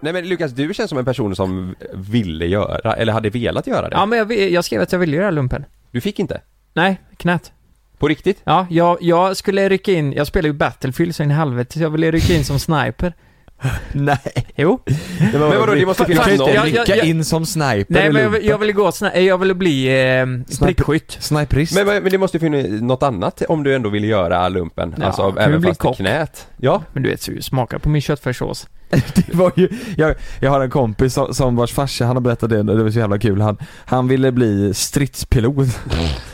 Nej men Lukas, du känns som en person som ville göra, eller hade velat göra det. Ja, men jag, vi- jag skrev att jag ville göra lumpen. Du fick inte? Nej, knät. På riktigt? Ja, jag, jag skulle rycka in, jag spelar ju Battlefield så in i helvete, så jag ville rycka in som sniper. Nej. Jo. Men vadå, det måste Du finnas kan ju någon... jag- inte jag- rycka jag- in som sniper Nej, i men jag, vill- lumpen. jag ville gå, sna- eh, jag ville bli eh, prickskytt. Sniperist. Men, men det måste ju finnas något annat om du ändå vill göra lumpen. Ja, alltså kan vi även bli fast i kock? knät. Ja. Men du vet, så smaka på min köttfärssås. Det var ju, jag, jag har en kompis som, som vars farsa, han har berättat det, och det var så jävla kul. Han, han ville bli stridspilot.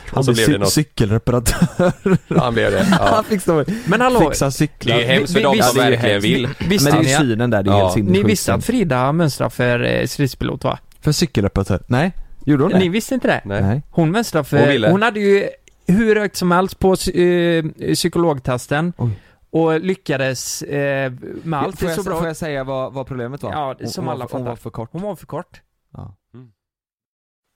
Han så blev blev det cy- något. cykelreparatör. Han blev det. Han Ja. fick stå, Men hallå, fixa Det cyklar. är ju hemskt för Vi- dem vi- som vi- verkligen vi- vill. visste Men det ni, är synen där, det är Ja. helt ni sinnessjukt. visste att Frida mönstrar för eh, stridspilot va? För cykelreparatör? Nej, gjorde hon det? Ni visste inte det? Nej. Hon mönstrade för... Hon ville. hade ju hur högt som helst på psy- eh, psykologtesten. Oj. Och lyckades eh, med allt. får, det är jag, så bra. får jag säga vad, vad problemet var? Ja, det- som hon, alla var, hon fattar. var för kort. Hon var för kort. Ja.